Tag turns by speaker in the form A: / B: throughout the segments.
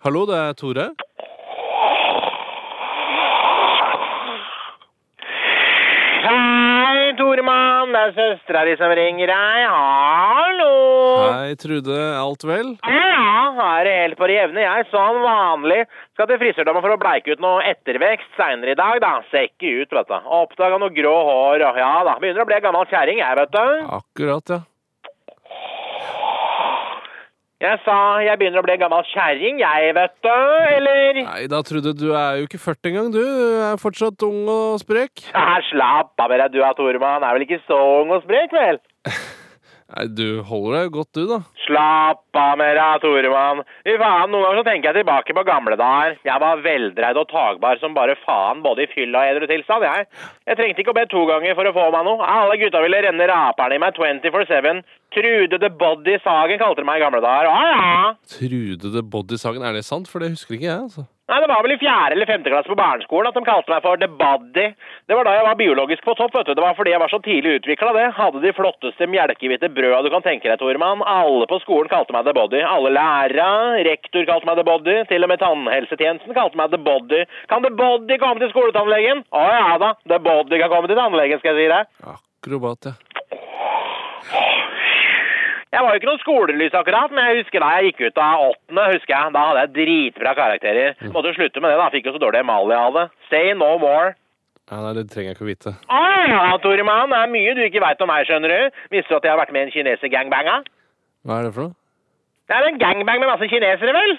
A: Hallo, det er Tore.
B: Hei, Toremann. Det er søstera di som ringer deg. Hallo!
A: Hei, Trude. Er alt vel?
B: Ja, her er helt på det jevne. Jeg som vanlig skal til frisørdama for å bleike ut noe ettervekst seinere i dag, da. Ser ikke ut, vet du. Oppdaga noe grå hår og ja da. Begynner å bli ei gammel kjerring, jeg, vet du.
A: Akkurat, ja.
B: Jeg sa jeg begynner å bli ei gammel kjerring, jeg, vet du. Eller?
A: Nei da, Trude. Du er jo ikke 40 engang, du. Du er fortsatt ung og sprek.
B: Ja, slapp av med deg, du da, Toremann. Er vel ikke så ung og sprek, vel?
A: Nei, du holder deg godt, du, da.
B: Slapp av med deg, Toremann. Fy faen, noen ganger så tenker jeg tilbake på gamle dager. Jeg var veldreid og tagbar som bare faen, både i fylla og edru tilstand, jeg. Jeg trengte ikke å be to ganger for å få meg noe. Alle gutta ville renne raperne i meg 24-7. Trude the Body Sagen kalte de meg i gamle dager. Å ja!
A: Trude the Body-sagen. Er det sant? For det husker ikke jeg, altså.
B: Nei, det var vel i fjerde eller femte klasse på barneskolen at de kalte meg for The Body. Det var da jeg var biologisk på topp, vet du. Det var fordi jeg var så tidlig utvikla, det. Hadde de flotteste melkehvite brøda du kan tenke deg, Tormann. Alle på skolen kalte meg The Body. Alle lærere. Rektor kalte meg The Body. Til og med tannhelsetjenesten kalte meg The Body. Kan The Body komme til skoletannlegen? Å ja da, The Body kan komme til tannlegen, skal jeg si deg.
A: Akrobat, ja.
B: Jeg var jo ikke noe skolelys akkurat, men jeg husker da jeg gikk ut av åttende, husker jeg. Da hadde jeg dritbra karakterer. Måtte jo slutte med det, da. Fikk jo så dårlig emalje av det. Say no more.
A: ja nei, det trenger jeg ikke å vite.
B: Å ja, Toremann. Ah, Det er mye du ikke veit om meg, skjønner du. Visste du at jeg har vært med i en kineser-gangbanga?
A: Hva er det for noe?
B: Det er en gangbang med masse kinesere, vel?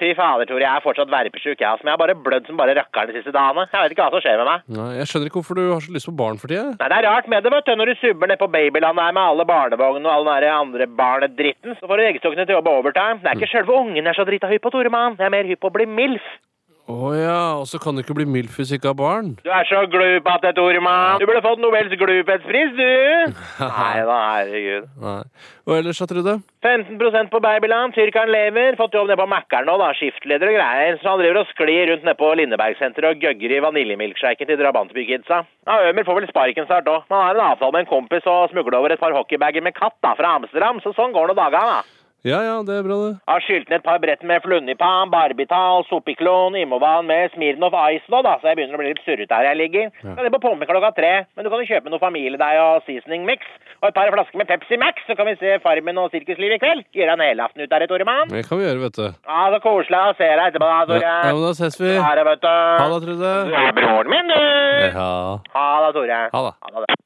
B: Fy fader, Tore. Jeg er fortsatt verpesjuk, jeg. Altså. Men jeg har bare blødd som bare rakkeren de siste dagene. Jeg vet ikke hva som skjer med meg.
A: Nei, jeg skjønner ikke hvorfor du har så lyst på barn for tida.
B: Nei, Det er rart med det, vet du. Når du subber ned på babyland der med alle barnevognene og all den der andre barnedritten, så får du eggstokkene til å jobbe overtime. Det er ikke sjølve ungen jeg er så drita hypp på, Toremann. Jeg er mer hypp på å bli MILF.
A: Å ja, og så kan du ikke bli MILF hvis du ikke har barn.
B: Du er så glup at det, Toremann. Du burde fått Nobels gluphetspris, du. Nei da, herregud.
A: Nei. Og ellers, da, Trude?
B: 15 på babyland. Tyrkeren lever. Fått jobb nede på Mækkern nå, da. Skiftleder og greier. Så han driver og sklir rundt nede på Lindebergsenteret og gøgger i vaniljemilkshaken til drabantbykidsa. Ja, Ømer får vel sparken snart òg. Han har en avtale med en kompis og smugler over et par hockeybager med katt da, fra Amsterdam, så sånn går nå dagene, da.
A: Ja ja, det er bra, det.
B: Har skylt ned et par brett med flunnipan, barbital, sopiklon, imovan med Smirnov Ice nå, da, så jeg begynner å bli litt surrete her jeg ligger. Skal ned på Pompe klokka tre, men du kan jo kjøpe noe familiedeig og seasoning mix, og et par flasker med Pepsi Max, så kan vi se Farmen og Sirkusliv i kveld. Gjøre en helaften ut av det, Toremann.
A: Det kan vi gjøre, vet du.
B: Ja, så koselig å se deg etterpå, da,
A: Ja,
B: Tore.
A: ja men da ses vi.
B: Ha det, vet du.
A: Ha det, Trude.
B: Du er broren min, du.
A: Ja.
B: Ha det, Tore.
A: Ha det.
B: Ha det.